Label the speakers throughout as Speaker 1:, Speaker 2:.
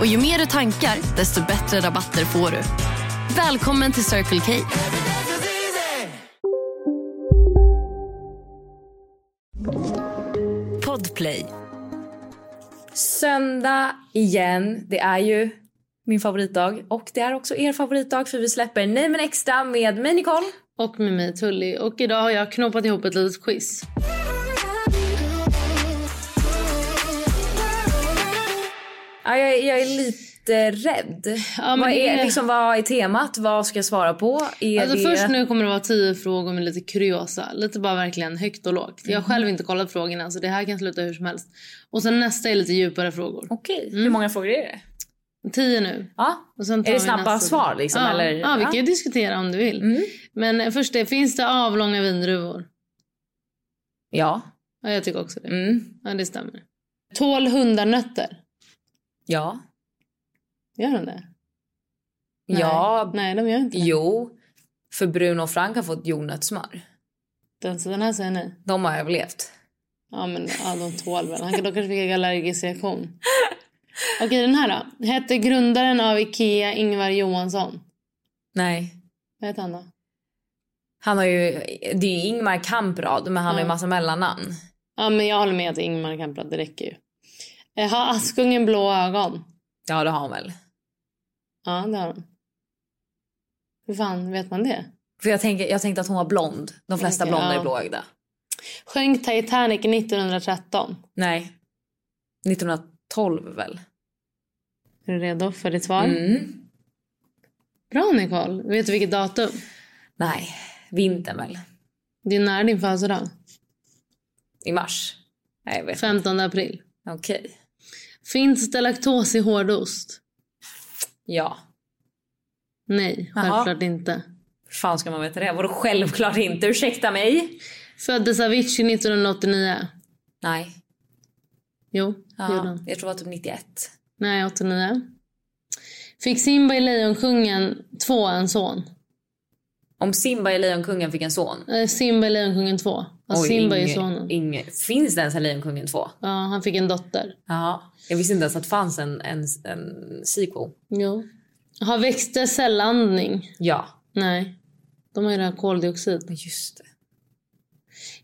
Speaker 1: Och ju mer du tankar, desto bättre rabatter får du. Välkommen till Circle K.
Speaker 2: Podplay.
Speaker 3: Söndag igen. Det är ju min favoritdag och det är också er favoritdag för vi släpper Nej men extra med mig Nicole.
Speaker 4: Och med mig Tully. Och idag har jag knoppat ihop ett litet quiz.
Speaker 3: Ja, jag, är- jag är lite rädd.
Speaker 4: Ja, men
Speaker 3: vad,
Speaker 4: det
Speaker 3: är,
Speaker 4: är-
Speaker 3: liksom, vad är temat? Vad ska jag svara på? Är
Speaker 4: Alltså
Speaker 3: det...
Speaker 4: först nu kommer det vara tio frågor med lite kuriosa. Lite bara verkligen högt och lågt. Jag har själv inte kollat frågorna så det här kan sluta hur som helst. Och sen nästa är lite djupare frågor.
Speaker 3: Okej,
Speaker 4: Mm.
Speaker 3: hur många frågor är det?
Speaker 4: Tio nu.
Speaker 3: Ja.
Speaker 4: Och sen tar
Speaker 3: Är det
Speaker 4: vi
Speaker 3: snabba
Speaker 4: nästa.
Speaker 3: svar, liksom,
Speaker 4: Ja,
Speaker 3: eller? Mm.
Speaker 4: ja vi kan ju diskutera om du vill. Men eh, först det, finns det avlånga vindruvor?
Speaker 3: Ja.
Speaker 4: Ja, jag tycker också det.
Speaker 3: Mm.
Speaker 4: Ja, det stämmer. Tål hundar nötter?
Speaker 3: Ja.
Speaker 4: Gör de det? Nej.
Speaker 3: Ja.
Speaker 4: Nej, de gör inte det.
Speaker 3: Jo. För Bruno och Frank har fått jordnötssmör.
Speaker 4: Den, så den här säger nej.
Speaker 3: De har överlevt.
Speaker 4: Ja, men ja, de tål väl. Han, de kanske fick en allergisk reaktion. Okej, den här då. Hette grundaren av Ikea Ingvar Johansson?
Speaker 3: Nej.
Speaker 4: Vad heter han då?
Speaker 3: Han har ju, det är ju Ingmar Kamprad men han har ju massa mellannamn.
Speaker 4: Ja, men jag håller med att Ingmar Kamprad, det räcker ju. Eh, Har Askungen blå ögon?
Speaker 3: Ja det har han väl.
Speaker 4: Ja, det har han. Hur fan vet man det?
Speaker 3: För jag, tänker, jag tänkte att hon var blond. De flesta
Speaker 4: Okej,
Speaker 3: blonda
Speaker 4: ja.
Speaker 3: är blåögda.
Speaker 4: Sjönk Titanic 1913?
Speaker 3: Nej. 1912 väl?
Speaker 4: Är du redo för ditt svar?
Speaker 3: Mm.
Speaker 4: Bra, Nicole. Vet du vilket datum?
Speaker 3: Nej. Vintern väl?
Speaker 4: Det är nära din födelsedag.
Speaker 3: I mars? Nej jag vet inte.
Speaker 4: 15 april.
Speaker 3: Okej.
Speaker 4: Finns det laktos i hårdost?
Speaker 3: Ja.
Speaker 4: Nej,
Speaker 3: Jaha.
Speaker 4: självklart inte.
Speaker 3: Hur fan ska man veta det? Vadå självklart inte? Ursäkta mig?
Speaker 4: Föddes Avicii 1989?
Speaker 3: Nej.
Speaker 4: Jo, det gjorde
Speaker 3: Ja,
Speaker 4: han.
Speaker 3: jag tror det var typ 91.
Speaker 4: Nej, 89. Fick Simba i Lejonkungen 2 en son?
Speaker 3: Om Simba i Lejonkungen fick en son?
Speaker 4: Eh, Simba i Lejonkungen 2. Alltså
Speaker 3: Oj,
Speaker 4: Simba är ju
Speaker 3: inge-
Speaker 4: sonen.
Speaker 3: inge- Finns det ens en Lejonkungen 2?
Speaker 4: Ja, han fick en dotter.
Speaker 3: Ja, jag visste inte ens att det fanns en, en, en sequel.
Speaker 4: Jo. Har växter cellandning?
Speaker 3: Ja,
Speaker 4: Nej. De har ju det här koldioxid.
Speaker 3: men just det.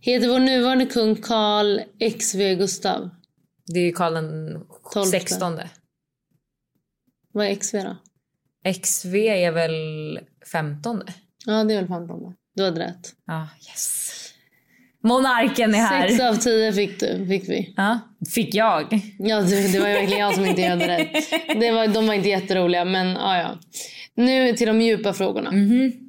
Speaker 4: Heter vår nuvarande kung Karl XV Gustav?
Speaker 3: Det är ju Karl den
Speaker 4: Tolfte.
Speaker 3: 16.
Speaker 4: Vad är XV då?
Speaker 3: XV är väl 15?
Speaker 4: Ja, det är väl 15 då. Du hade rätt.
Speaker 3: Ja, yes. Monarken är här.
Speaker 4: Sex av tio fick du, fick vi.
Speaker 3: Ja, fick jag.
Speaker 4: Ja, det, det var ju verkligen jag som inte hade rätt. Det var, de var inte jätteroliga, men ja, ja. Nu till de djupa frågorna.
Speaker 3: Mhm.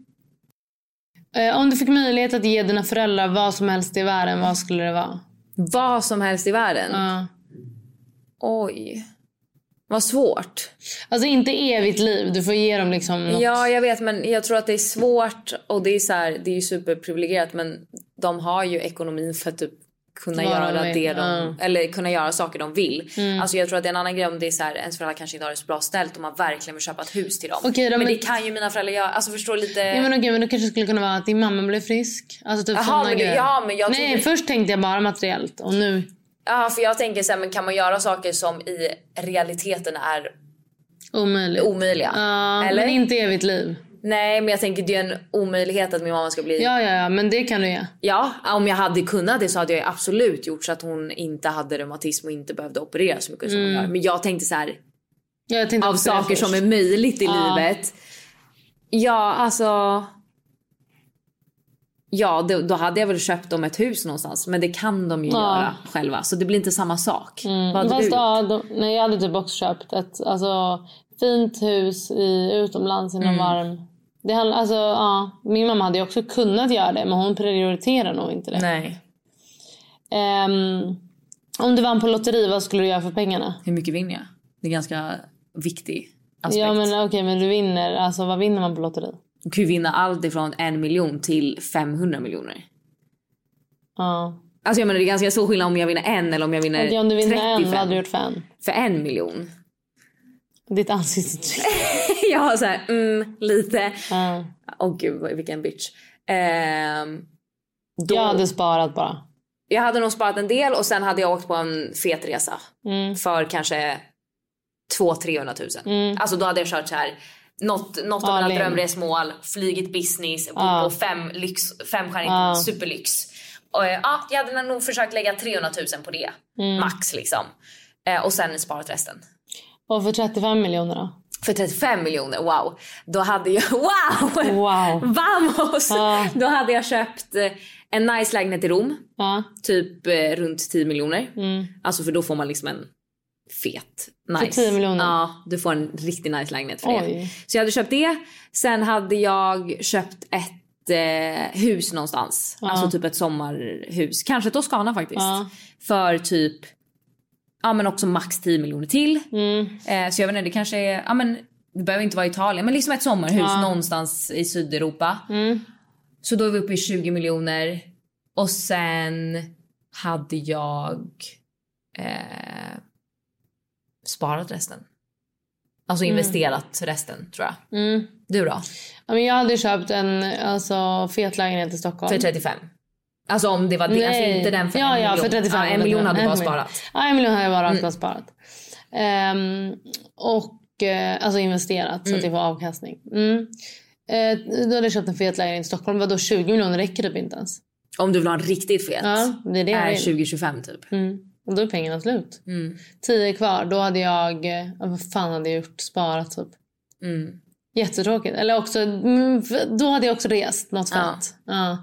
Speaker 4: Eh, Om du fick möjlighet att ge dina föräldrar vad som helst i världen, vad skulle det vara?
Speaker 3: Vad som helst i världen.
Speaker 4: Ja.
Speaker 3: Oj. Vad svårt.
Speaker 4: Alltså inte evigt liv, du får ge dem liksom något.
Speaker 3: Ja, jag vet, men jag tror att det är svårt och det är så här, det är ju superprivilegierat men de har ju ekonomin för att typ kunna
Speaker 4: Vad de
Speaker 3: göra
Speaker 4: vill,
Speaker 3: det de,
Speaker 4: ja. Mm.
Speaker 3: eller kunna göra saker de vill. Alltså jag tror att det är en annan grej om det är så här, ens föräldrar kanske inte har det så bra ställt och man verkligen vill köpa ett hus till dem.
Speaker 4: Okej då,
Speaker 3: men,
Speaker 4: men-
Speaker 3: det kan ju mina föräldrar göra. Alltså förstår lite...
Speaker 4: Ja, men okej, men då kanske det skulle kunna vara att din mamma blev frisk. Alltså typ
Speaker 3: Jaha,
Speaker 4: såna
Speaker 3: men du-
Speaker 4: grejer.
Speaker 3: ja, men jag
Speaker 4: Nej,
Speaker 3: trodde-
Speaker 4: först tänkte jag bara materiellt och nu...
Speaker 3: Ja, för jag tänker så här, men kan man göra saker som i realiteten är
Speaker 4: Omöjligt.
Speaker 3: omöjliga?
Speaker 4: Ja,
Speaker 3: Eller?
Speaker 4: Men inte evigt liv.
Speaker 3: Nej, men jag tänker det är en omöjlighet att min mamma ska bli... Ja.
Speaker 4: Ja, ja, ja, men det kan du ge.
Speaker 3: om jag hade kunnat det så hade jag ju absolut gjort så att hon inte hade reumatism och inte behövde operera så mycket som
Speaker 4: Mm.
Speaker 3: hon gör. Men jag tänkte så här,
Speaker 4: Ja, jag tänkte
Speaker 3: av
Speaker 4: också det
Speaker 3: saker
Speaker 4: först.
Speaker 3: som är möjligt i livet. Ja, alltså... Ja, då, då hade jag väl köpt dem ett hus någonstans. Men det kan de ju
Speaker 4: Ja.
Speaker 3: göra själva. Så det blir inte samma sak.
Speaker 4: Mm.
Speaker 3: Vad hade
Speaker 4: Fast,
Speaker 3: du?
Speaker 4: ja, de, nej, jag hade typ också köpt ett alltså, fint hus i, utomlands i någon
Speaker 3: Mm.
Speaker 4: varm... Det handlar, alltså, ja, min mamma hade ju också kunnat göra det men hon prioriterar nog inte det.
Speaker 3: Nej.
Speaker 4: Ehm, om du vann på lotteri, vad skulle du göra för pengarna?
Speaker 3: Hur mycket vinner jag? Det är ganska viktig aspekt.
Speaker 4: Ja men okej men du vinner, alltså vad vinner man på lotteri?
Speaker 3: Du kan ju vinna allt ifrån en miljon till 500 miljoner.
Speaker 4: Ja.
Speaker 3: Alltså jag menar det är ganska stor skillnad om jag vinner en eller om jag vinner
Speaker 4: Okej, om du vinner en, vad
Speaker 3: 35.
Speaker 4: hade du gjort för en?
Speaker 3: För en miljon.
Speaker 4: Ditt ansiktsuttryck.
Speaker 3: jag har såhär, mm, lite.
Speaker 4: Ja.
Speaker 3: Åh gud vad- vilken bitch. Ehm, då,
Speaker 4: Jag hade sparat bara.
Speaker 3: jag hade nog sparat en del och sen hade jag åkt på en fet resa.
Speaker 4: Mm.
Speaker 3: För kanske 200-300 tusen. Alltså då hade jag kört så här. Något, något av
Speaker 4: All
Speaker 3: mina
Speaker 4: in.
Speaker 3: drömresmål, flygit business, bott på fem lyx, femstjärnigt, superlyx. Och, eh, ja, jag hade nog försökt lägga 300 000 på det,
Speaker 4: Mm.
Speaker 3: max liksom. Eh, och sen sparat resten.
Speaker 4: Och för 35 miljoner då?
Speaker 3: För 35 miljoner, wow. Då hade jag, wow!
Speaker 4: Wow.
Speaker 3: Vamos!
Speaker 4: Ja.
Speaker 3: Då hade jag köpt eh, en nice lägenhet i Rom,
Speaker 4: Ja.
Speaker 3: typ eh, runt 10 miljoner.
Speaker 4: Mm.
Speaker 3: Alltså för då får man liksom en fet nice.
Speaker 4: 10 miljoner?
Speaker 3: Ja, du får en riktigt nice lägenhet för det.
Speaker 4: Oj.
Speaker 3: Så jag hade köpt det. Sen hade jag köpt ett eh, hus någonstans. Alltså typ ett sommarhus. Kanske Toscana faktiskt.
Speaker 4: Ja.
Speaker 3: För typ, ja men också max 10 miljoner till.
Speaker 4: Mm.
Speaker 3: Eh, så jag vet inte, det kanske är, ja men det behöver inte vara Italien men liksom ett sommarhus någonstans i Sydeuropa.
Speaker 4: Mm.
Speaker 3: Så då är vi uppe i 20 miljoner. Och sen hade jag eh, sparat resten. Alltså
Speaker 4: Mm.
Speaker 3: investerat resten tror jag. Du då?
Speaker 4: Ja, men jag hade köpt en alltså, fet lägenhet i Stockholm.
Speaker 3: För 35? Alltså om det var det, alltså inte den för
Speaker 4: ja,
Speaker 3: en
Speaker 4: ja,
Speaker 3: miljon.
Speaker 4: För 35
Speaker 3: ja, en miljon hade du bara
Speaker 4: miljon.
Speaker 3: sparat. Mm.
Speaker 4: Ja, en miljon hade jag bara bara sparat. Ehm, och eh, alltså investerat så att jag får avkastning. Mm. Eh, då hade jag köpt en fet lägenhet i Stockholm. Vadå 20 miljoner räcker typ inte ens?
Speaker 3: Om du vill ha en riktigt fet.
Speaker 4: Ja, det är det jag
Speaker 3: är
Speaker 4: vill.
Speaker 3: 20-25 typ. Mm.
Speaker 4: Mm. Och då är pengarna slut. Tio är kvar. Då hade jag... Ja, vad fan hade jag gjort? Sparat typ.
Speaker 3: Mm.
Speaker 4: Jättetråkigt. Eller också, mm, för- då hade jag också rest något
Speaker 3: Ja.
Speaker 4: fett. Ja.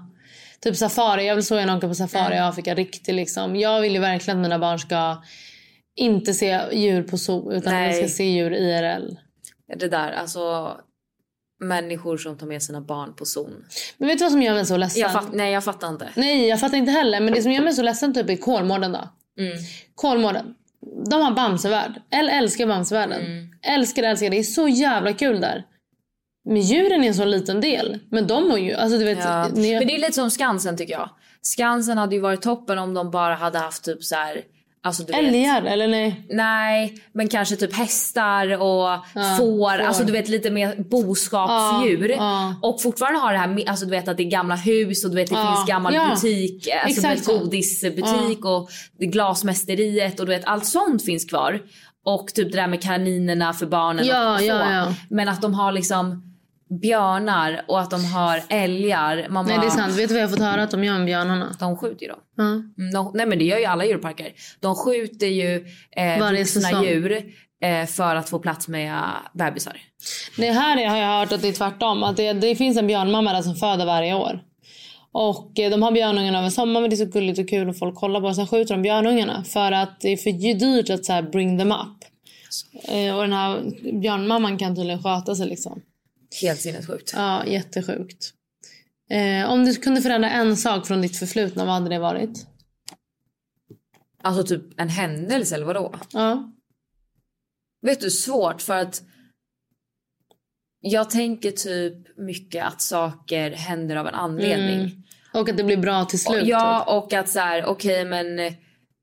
Speaker 4: Typ safari. Jag vill så gärna åka på safari i Afrika. Riktigt liksom. Jag vill ju verkligen att mina barn ska inte se djur på zoo utan att de
Speaker 3: Nej.
Speaker 4: ska se djur IRL.
Speaker 3: Det där alltså människor som tar med sina barn på zon.
Speaker 4: Men vet du vad som gör mig så ledsen?
Speaker 3: Jag fatt, nej jag fattar inte.
Speaker 4: Nej, jag fattar inte heller. Men det som gör mig så ledsen typ är Kolmården då.
Speaker 3: Mm.
Speaker 4: Kolmården. De har Bamsevärld. Eller älskar Bamsevärlden.
Speaker 3: Mm.
Speaker 4: Älskar, älskar. Det är så jävla kul där. Men djuren är en så liten del. Men de mår ju... Alltså du vet...
Speaker 3: Ja.
Speaker 4: ni-
Speaker 3: Men det är lite som Skansen tycker jag. Skansen hade ju varit toppen om de bara hade haft typ så här. Alltså du vet,
Speaker 4: Älgar, eller nej?
Speaker 3: nej, men kanske typ hästar och får, Alltså du vet lite mer boskapsdjur.
Speaker 4: Ja, ja.
Speaker 3: Och fortfarande har det här med, alltså du vet att det är gamla hus och du vet det
Speaker 4: Ja,
Speaker 3: finns gammal
Speaker 4: ja.
Speaker 3: butik. Alltså
Speaker 4: Exakt
Speaker 3: du
Speaker 4: så.
Speaker 3: vet, godisbutik och glasmästeriet och du vet allt sånt finns kvar. Och typ det där med kaninerna för barnen
Speaker 4: Ja,
Speaker 3: och så.
Speaker 4: ja, ja.
Speaker 3: Men att de har liksom björnar och att de har älgar. Man
Speaker 4: Nej,
Speaker 3: bara,
Speaker 4: det är sant. Vet du vad jag har fått höra att de gör om björnarna?
Speaker 3: de skjuter ju dem.
Speaker 4: Ja.
Speaker 3: Mm, De, nej men det gör ju alla djurparker. De skjuter ju eh,
Speaker 4: Varje
Speaker 3: vuxna
Speaker 4: säsong.
Speaker 3: djur eh, för att få plats med eh, bebisar.
Speaker 4: Det här har jag hört att det är tvärtom. Att det, det finns en björnmamma där som föder varje år. Och eh, de har björnungarna över sommaren men det är så gulligt och kul och folk kollar på. Sen skjuter de björnungarna för att det är för ju dyrt att så här bring them up. Eh, Och den här björnmamman kan tydligen sköta sig liksom.
Speaker 3: Helt sinnessjukt.
Speaker 4: Ja, jättesjukt. Eh, om du kunde förändra en sak från ditt förflutna, vad hade det varit?
Speaker 3: Alltså typ en händelse eller vadå?
Speaker 4: Ja.
Speaker 3: Vet du, svårt för att jag tänker typ mycket att saker händer av en anledning.
Speaker 4: Mm. Och att det blir bra till slut. typ.
Speaker 3: Ja, och att så här, okej men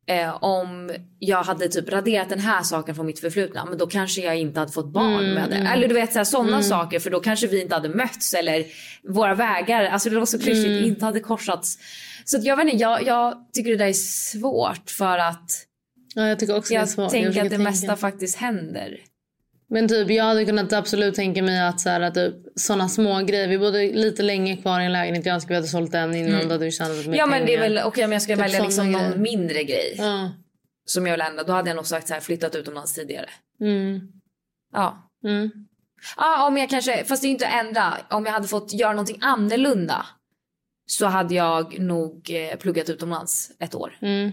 Speaker 3: eh, om jag hade typ raderat den här saken från mitt förflutna, men då kanske jag inte hade fått barn
Speaker 4: Mm,
Speaker 3: med det. Eller du vet så här, sådana saker, för då kanske vi inte hade mötts eller våra vägar, alltså det var så klyschigt,
Speaker 4: Mm.
Speaker 3: inte hade korsats. Så att jag vet inte, jag, jag tycker det där är svårt för att
Speaker 4: Ja, jag tycker också det är
Speaker 3: jag
Speaker 4: svårt.
Speaker 3: tänker
Speaker 4: försöker
Speaker 3: att det
Speaker 4: tänka.
Speaker 3: mesta faktiskt händer.
Speaker 4: Men typ, jag hade kunnat absolut tänka mig att så här, att typ, såna små grejer. Vi bodde lite länge kvar i en lägenhet. Jag önskar vi hade sålt den innan. Då hade vi tjänat mer
Speaker 3: Mm. Ja men det är
Speaker 4: pengar.
Speaker 3: väl, okej om jag ska
Speaker 4: Typ
Speaker 3: välja liksom
Speaker 4: såna
Speaker 3: någon
Speaker 4: grejer.
Speaker 3: mindre grej
Speaker 4: Ja.
Speaker 3: som jag vill ändra, då hade jag nog sagt så här, flyttat utomlands tidigare.
Speaker 4: Mm.
Speaker 3: Ja.
Speaker 4: Mm.
Speaker 3: Ja, om jag kanske, fast det är ju inte att ändra. Om jag hade fått göra någonting annorlunda så hade jag nog eh, pluggat utomlands ett år.
Speaker 4: Mm.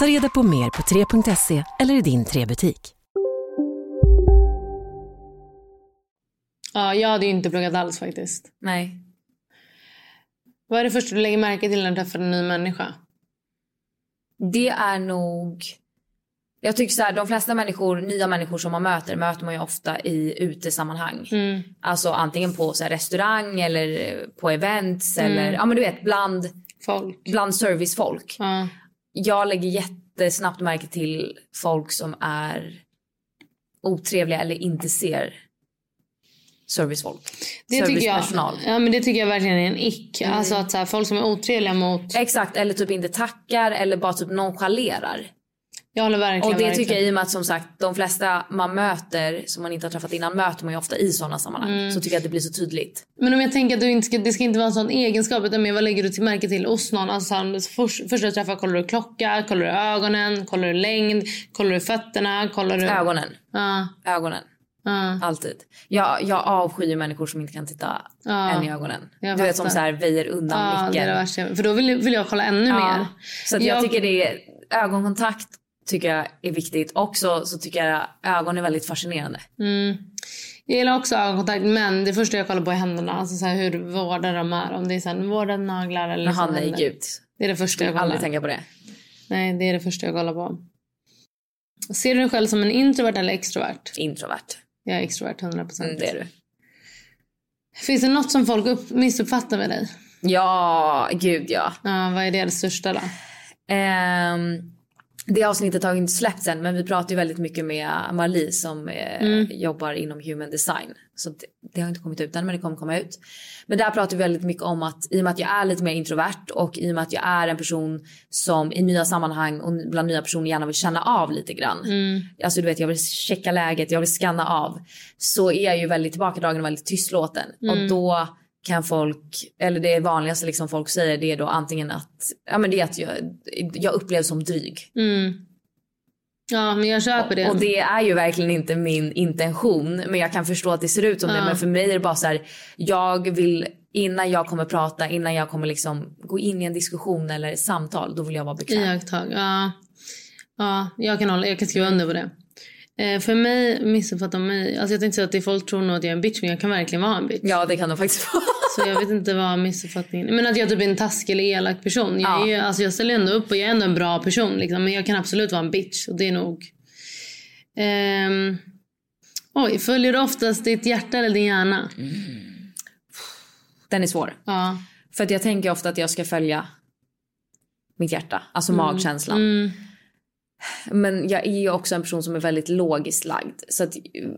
Speaker 5: Ta reda på mer på 3.se eller i din 3-butik.
Speaker 4: Ja, jag hade ju inte pluggat alls faktiskt.
Speaker 3: Nej.
Speaker 4: Vad är det första du lägger märke till när du träffar en ny människa?
Speaker 3: Det är nog... Jag tycker så här, de flesta människor, nya människor som man möter, möter man ju ofta i utesammanhang.
Speaker 4: Mm.
Speaker 3: Alltså antingen på så här, restaurang eller eh, på events eller ja men du vet bland,
Speaker 4: Folk.
Speaker 3: bland servicefolk.
Speaker 4: Ja.
Speaker 3: Jag lägger jättesnabbt märke till folk som är otrevliga eller inte ser servicefolk.
Speaker 4: Det tycker, jag,
Speaker 3: Servicepersonal. Mm.
Speaker 4: ja, men det tycker jag verkligen är en ick. Alltså att så här, folk som är otrevliga mot...
Speaker 3: Exakt, eller typ inte tackar eller bara typ nonchalerar.
Speaker 4: Jag håller verkligen
Speaker 3: Och det
Speaker 4: verkligen.
Speaker 3: tycker jag i och med att som sagt de flesta man möter som man inte har träffat innan möter man ju ofta i sådana sammanhang.
Speaker 4: Mm.
Speaker 3: Så tycker jag att det blir så tydligt.
Speaker 4: Men om jag tänker att du inte ska, det ska inte vara en sån egenskap utan mer vad lägger du till märke till hos någon? Alltså, så här, om du först, först du träffar kollar du klocka, kollar du ögonen, kollar du längd, kollar du fötterna, kollar du...
Speaker 3: Ögonen.
Speaker 4: Ja,
Speaker 3: Ögonen.
Speaker 4: ja.
Speaker 3: Alltid. Jag, jag avskyr människor som inte kan titta
Speaker 4: Ja.
Speaker 3: en i ögonen. Du
Speaker 4: Jag
Speaker 3: vet som
Speaker 4: fattar.
Speaker 3: så här väjer undan
Speaker 4: Ja, det är
Speaker 3: blicken.
Speaker 4: det värsta. jag- För då vill, vill jag kolla ännu mer.
Speaker 3: Så att jag,
Speaker 4: Jag-
Speaker 3: tycker det är, ögonkontakt tycker jag är viktigt. Också så tycker jag ögon är väldigt fascinerande.
Speaker 4: Mm. Jag gillar också ögonkontakt men det första jag kollar på är händerna. Alltså så här, hur vårdade de är. Om det är så här, vårdade naglar eller
Speaker 3: När
Speaker 4: liksom
Speaker 3: handen gick
Speaker 4: händer.
Speaker 3: ut.
Speaker 4: Det är det första jag kollar.
Speaker 3: Aldrig tänka på det.
Speaker 4: Nej, det är det första jag kollar på. Ser du dig själv som en introvert eller extrovert?
Speaker 3: Introvert.
Speaker 4: Jag är extrovert 100%.
Speaker 3: Mm, det är du.
Speaker 4: Finns det något som folk upp, missuppfattar med dig?
Speaker 3: Ja, gud ja.
Speaker 4: Ja, vad är det, det största då?
Speaker 3: Ehm, det avsnittet har ju inte släppts än men vi pratar ju väldigt mycket med Marli som eh, jobbar inom human design. Så det, det har inte kommit ut än men det kommer komma ut. Men där pratar vi väldigt mycket om att i och med att jag är lite mer introvert och i och med att jag är en person som i nya sammanhang och bland nya personer gärna vill känna av lite grann. Alltså du vet jag vill checka läget, jag vill scanna av. Så är jag ju väldigt tillbakadragen och väldigt tystlåten.
Speaker 4: Mm.
Speaker 3: Och då kan folk, eller det vanligaste liksom folk säger det är då antingen att, ja men det är att jag, jag upplevs som dryg.
Speaker 4: Mm. Ja, men jag köper det.
Speaker 3: Och det är ju verkligen inte min intention men jag kan förstå att det ser ut som det.
Speaker 4: Ja.
Speaker 3: Men för mig är det bara så här, jag vill innan jag kommer prata, innan jag kommer liksom gå in i en diskussion eller ett samtal, då vill jag vara bekväm.
Speaker 4: Iakttag, ja. Ja, jag kan, hålla, jag kan skriva under på det. Eh, för mig, missuppfattar mig. Alltså jag tänkte säga att det folk tror nog att jag är en bitch men jag kan verkligen vara en bitch.
Speaker 3: Ja det kan de faktiskt vara.
Speaker 4: Så jag vet inte vad missuppfattningen Men att jag typ är en taskig eller elak person. Jag, är ju, alltså jag ställer ändå upp och jag är ändå en bra person. Liksom. Men jag kan absolut vara en bitch. Och det är nog... Ehm, Oj, följer du oftast ditt hjärta eller din hjärna?
Speaker 3: Mm. Den är svår.
Speaker 4: Ja.
Speaker 3: För att jag tänker ofta att jag ska följa mitt hjärta, alltså magkänslan.
Speaker 4: Mm.
Speaker 3: Men jag är ju också en person som är väldigt logiskt lagd. Så att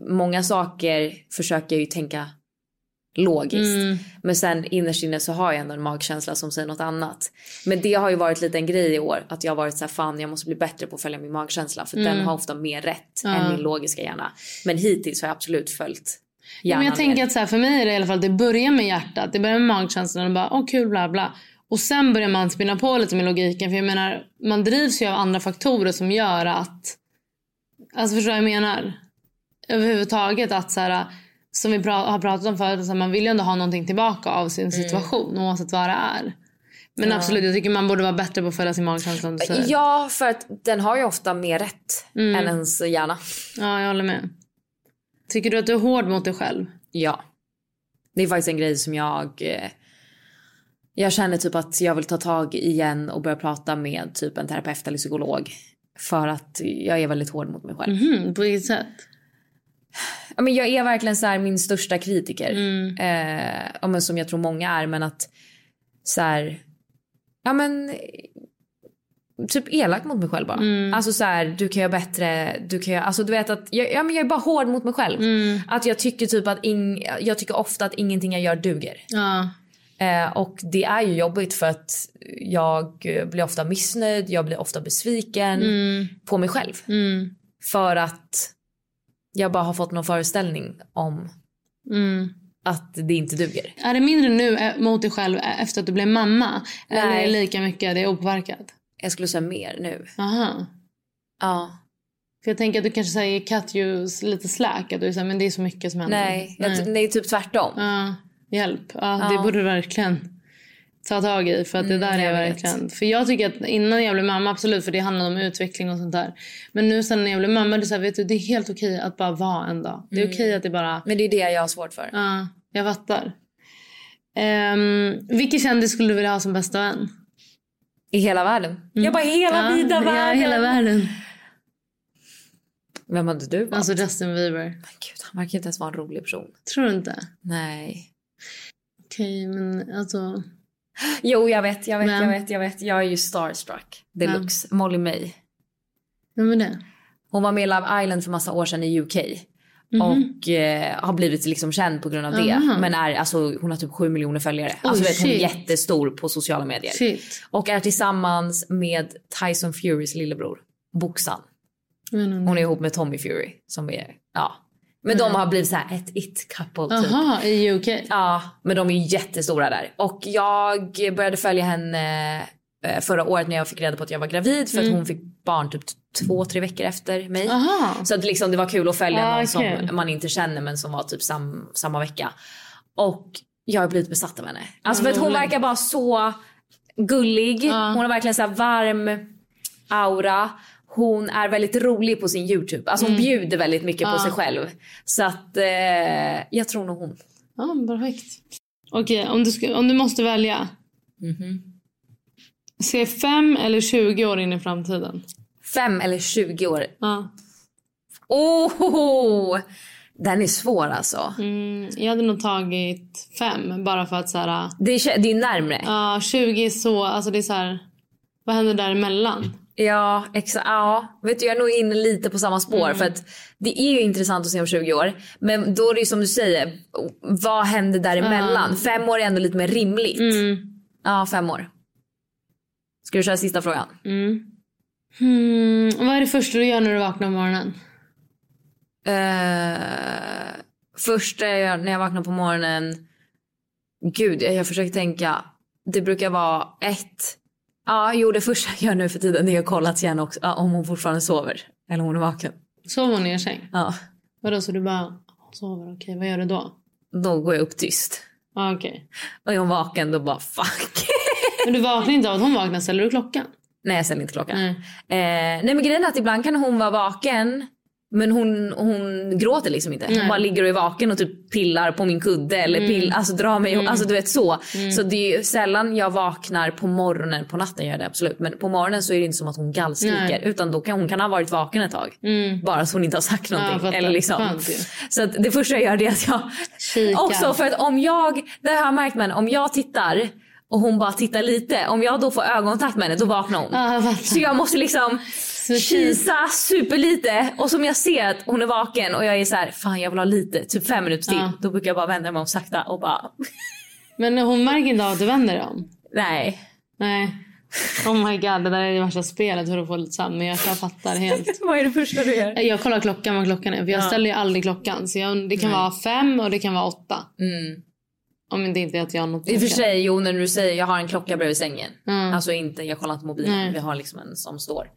Speaker 3: många saker försöker jag ju tänka logiskt.
Speaker 4: Mm.
Speaker 3: Men sen innerst inne så har jag ändå en magkänsla som säger något annat. Men det har ju varit lite en grej i år. Att jag har varit så här, fan jag måste bli bättre på att följa min magkänsla. För
Speaker 4: Mm.
Speaker 3: den har ofta mer rätt än min logiska hjärna. Men hittills har jag absolut följt
Speaker 4: Ja,
Speaker 3: hjärnan.
Speaker 4: men jag tänker
Speaker 3: mer.
Speaker 4: att så här, för mig är det i alla fall att det börjar med hjärtat. Det börjar med magkänslan och bara åh kul bla bla. Och sen börjar man spinna på lite med logiken. För jag menar man drivs ju av andra faktorer som gör att. Alltså förstår du vad jag menar? Överhuvudtaget att så här. Som vi pra- har pratat om förut. Så här, man vill ju ändå ha någonting tillbaka av sin situation. Oavsett vad det är. Men absolut jag tycker man borde vara bättre på att Mm. följa sin magkänsla. Om du säger.
Speaker 3: Ja, för att den har ju ofta mer rätt än ens hjärna.
Speaker 4: ja jag håller med. Tycker du att du är hård mot dig själv?
Speaker 3: Ja. Det är faktiskt en grej som jag... eh, Jag känner typ att jag vill ta tag i igen och börja prata med typ en terapeut eller psykolog. För att jag är väldigt hård mot mig själv.
Speaker 4: Mhm, på vilket sätt?
Speaker 3: Ja, men jag är verkligen så här min största kritiker. Eh, ja, men som jag tror många är. Men att så här, ja men eh, typ elak mot mig själv bara. Alltså så här, du kan göra bättre, du kan göra, alltså du vet att jag, ja, men jag är bara hård mot mig själv. Att jag tycker typ att ing, jag tycker ofta att ingenting jag gör duger.
Speaker 4: Ja.
Speaker 3: Eh, och det är ju jobbigt för att jag eh, blir ofta missnöjd, jag blir ofta besviken på mig själv.
Speaker 4: Mm.
Speaker 3: För att jag bara har fått någon föreställning om
Speaker 4: Mm.
Speaker 3: att det inte duger.
Speaker 4: Är det mindre nu eh, mot dig själv eh, efter att du blev mamma? Eller är
Speaker 3: Nej.
Speaker 4: det lika mycket, det är opåverkat?
Speaker 3: Jag skulle säga mer nu.
Speaker 4: Aha.
Speaker 3: Ja.
Speaker 4: För jag tänker att du kanske säger cut you s- lite slack, att du säger men det är så mycket som händer.
Speaker 3: Nej, jag, t- nej typ tvärtom.
Speaker 4: Ja, hjälp. Ja, Det borde du verkligen ta tag i. För att det där är
Speaker 3: Mm, jag vet.
Speaker 4: verkligen... För jag tycker att innan jag blev mamma, absolut, för det handlar om utveckling och sånt där. Men nu sen när jag blev mamma, det är, så här, vet du, det är helt okej att bara vara en dag. Det är
Speaker 3: Mm.
Speaker 4: okej att det bara...
Speaker 3: Men det är det jag har svårt för.
Speaker 4: Ja, jag fattar. Um, vilken kändis skulle du vilja ha som bästa vän?
Speaker 3: I hela världen. Jag bara hela
Speaker 4: ja,
Speaker 3: vida världen.
Speaker 4: Ja, hela världen.
Speaker 3: Vem hade du valt?
Speaker 4: Alltså Justin Bieber.
Speaker 3: Men gud, han verkar inte ens vara en rolig person.
Speaker 4: Tror du inte?
Speaker 3: Nej.
Speaker 4: Okej, men alltså...
Speaker 3: Jo, jag vet, jag vet,
Speaker 4: Vem?
Speaker 3: jag vet, jag vet. Jag är ju starstruck deluxe. Molly May.
Speaker 4: Vem är det?
Speaker 3: Hon var med i Love Island för massa år sedan i UK. Och eh, har blivit liksom känd på grund av det.
Speaker 4: Aha.
Speaker 3: Men är, alltså, hon har typ 7 miljoner följare. alltså,
Speaker 4: Oj,
Speaker 3: vet, hon är
Speaker 4: shit.
Speaker 3: jättestor på sociala medier.
Speaker 4: Shit.
Speaker 3: Och är tillsammans med Tyson Furys lillebror, boxaren.
Speaker 4: Jag vet inte.
Speaker 3: Hon är ihop med Tommy Fury som är, ja. Men de har blivit så här ett it-couple typ.
Speaker 4: Jaha, i UK?
Speaker 3: Ja, men de är ju jättestora där. Och jag började följa henne eh, förra året när jag fick reda på att jag var gravid för att hon fick barn typ t- två, tre veckor efter mig.
Speaker 4: Aha.
Speaker 3: Så att liksom det var kul att följa
Speaker 4: Ah,
Speaker 3: någon
Speaker 4: okej.
Speaker 3: som man inte känner men som var typ sam, samma vecka. Och jag har blivit besatt av henne. Alltså för att
Speaker 4: Mm.
Speaker 3: hon verkar bara så gullig. Hon har verkligen så här varm aura. Hon är väldigt rolig på sin Youtube. Alltså
Speaker 4: Mm.
Speaker 3: hon bjuder väldigt mycket på sig själv. Så att eh, jag tror nog hon.
Speaker 4: Ja, perfekt. Okej, om, du ska- om du måste välja. Se 5 eller 20 år in i framtiden?
Speaker 3: Fem eller 20 år.
Speaker 4: Ja.
Speaker 3: Oh! Den är svår alltså.
Speaker 4: Mm, jag hade nog tagit 5 bara för att så här...
Speaker 3: Det, är, det är närmre.
Speaker 4: Ja, 20 är så... Alltså det är så här... Vad händer däremellan?
Speaker 3: Ja, exa- ja, vet du jag är nog inne lite på samma spår för att det är ju intressant att se om 20 år. Men då är det ju som du säger, vad händer däremellan? Fem år är ändå lite mer rimligt. Ja, fem år. Ska du köra sista frågan?
Speaker 4: Hmm, vad är det första du gör när du vaknar på morgonen?
Speaker 3: Eh, första jag gör när jag vaknar på morgonen. Gud, jag, jag försöker tänka. Det brukar vara ett. Ja, jo det första jag gör nu för tiden är att kolla till henne också, ja, om hon fortfarande sover. Eller om hon är vaken.
Speaker 4: Sover hon i er säng?
Speaker 3: Ja,
Speaker 4: Vadå, så du bara... "Hon Sover, okej. vad gör du då?
Speaker 3: då går jag upp tyst.
Speaker 4: Ja, okej.
Speaker 3: Och är hon vaken då bara fuck.
Speaker 4: Men du vaknar inte av att hon vaknar? Ställer du klockan?
Speaker 3: nej jag ställer inte klockan.
Speaker 4: Nej.
Speaker 3: Nej. Eh, nej men grejen är att ibland kan hon vara vaken. Men hon, hon gråter liksom inte. Hon bara ligger och är vaken och typ pillar på min kudde eller
Speaker 4: Mm.
Speaker 3: pill, alltså drar mig. Alltså du vet så. Så det är ju sällan jag vaknar på morgonen. På natten gör jag det absolut. Men på morgonen så är det inte som att hon gallskriker.
Speaker 4: Nej.
Speaker 3: Utan då kan hon kan ha varit vaken ett tag. Bara så hon inte har sagt
Speaker 4: jag
Speaker 3: någonting.
Speaker 4: fattar.
Speaker 3: eller liksom.
Speaker 4: Skönt ju.
Speaker 3: Så att det första jag gör det är att jag...
Speaker 4: Kikar.
Speaker 3: Också för att om jag, det har jag märkt med henne, om jag tittar och hon bara tittar lite. Om jag då får ögonkontakt med henne då vaknar hon.
Speaker 4: Ja, jag fattar.
Speaker 3: Så jag måste liksom kisa superlite och som jag ser att hon är vaken och jag är så här, fan jag vill ha lite, typ fem minuter till.
Speaker 4: Ja.
Speaker 3: Då brukar jag bara vända mig om sakta och bara,
Speaker 4: Men hon märker inte av att du vänder dig om?
Speaker 3: nej.
Speaker 4: Nej. Oh my god, det där är det värsta spelet för att få lite sömn. Men jag, jag fattar helt.
Speaker 3: Vad är det första du gör?
Speaker 4: Jag kollar klockan vad klockan är. För jag ställer ju aldrig klockan. Så jag, det kan vara fem och det kan vara åtta.
Speaker 3: Mm.
Speaker 4: Om det inte är att jag har något
Speaker 3: I och för
Speaker 4: klocka.
Speaker 3: sig, jo när du säger jag har en klocka bredvid sängen.
Speaker 4: Mm.
Speaker 3: Alltså inte, jag kollar inte mobilen,
Speaker 4: Nej.
Speaker 3: vi har liksom en som står.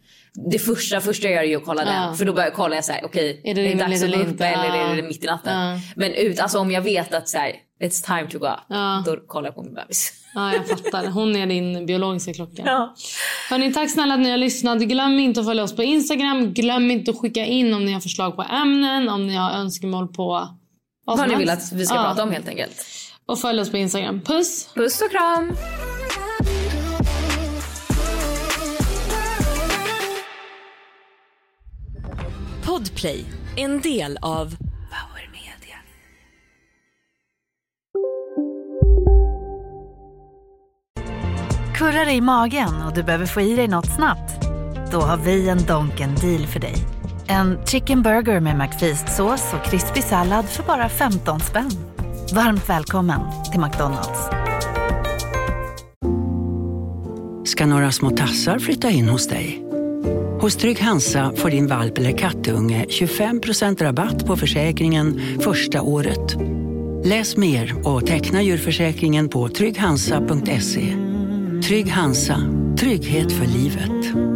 Speaker 3: Det första, första jag gör är ju att kolla
Speaker 4: Ja.
Speaker 3: den. För då börjar jag kolla, jag så här, okej,
Speaker 4: Är
Speaker 3: är
Speaker 4: det
Speaker 3: det,
Speaker 4: rimligt
Speaker 3: dags att gå
Speaker 4: eller
Speaker 3: upp
Speaker 4: inte?
Speaker 3: eller
Speaker 4: Ja.
Speaker 3: är det mitt i natten?
Speaker 4: Ja.
Speaker 3: Men ut, alltså om jag vet att så här, it's time to go,
Speaker 4: Ja.
Speaker 3: då kollar jag på min bebis.
Speaker 4: Ja, jag fattar. Hon är din biologiska klocka.
Speaker 3: Ja.
Speaker 4: Hörrni, tack snälla att ni har lyssnat. Glöm inte att följa oss på Instagram. Glöm inte att skicka in om ni har förslag på ämnen, om ni har önskemål på Vad
Speaker 3: Vad
Speaker 4: som
Speaker 3: ni vill
Speaker 4: helst.
Speaker 3: att vi ska
Speaker 4: Ja.
Speaker 3: prata om helt enkelt.
Speaker 4: Och följ oss på Instagram. Puss!
Speaker 3: Puss och kram!
Speaker 6: Podplay, en del av Power Media.
Speaker 7: Kurrar i magen och du behöver få i dig något snabbt? Då har vi en Donken deal för dig. En chicken burger med McFeast-sås och krispig sallad för bara 15 spänn. Varmt välkommen till McDonalds.
Speaker 8: ska några små tassar flytta in hos dig. Hos Trygg Hansa får din valp eller kattunge 25% rabatt på försäkringen första året. Läs mer och teckna djurförsäkringen på trygghansa.se. Trygg Hansa, trygghet för livet.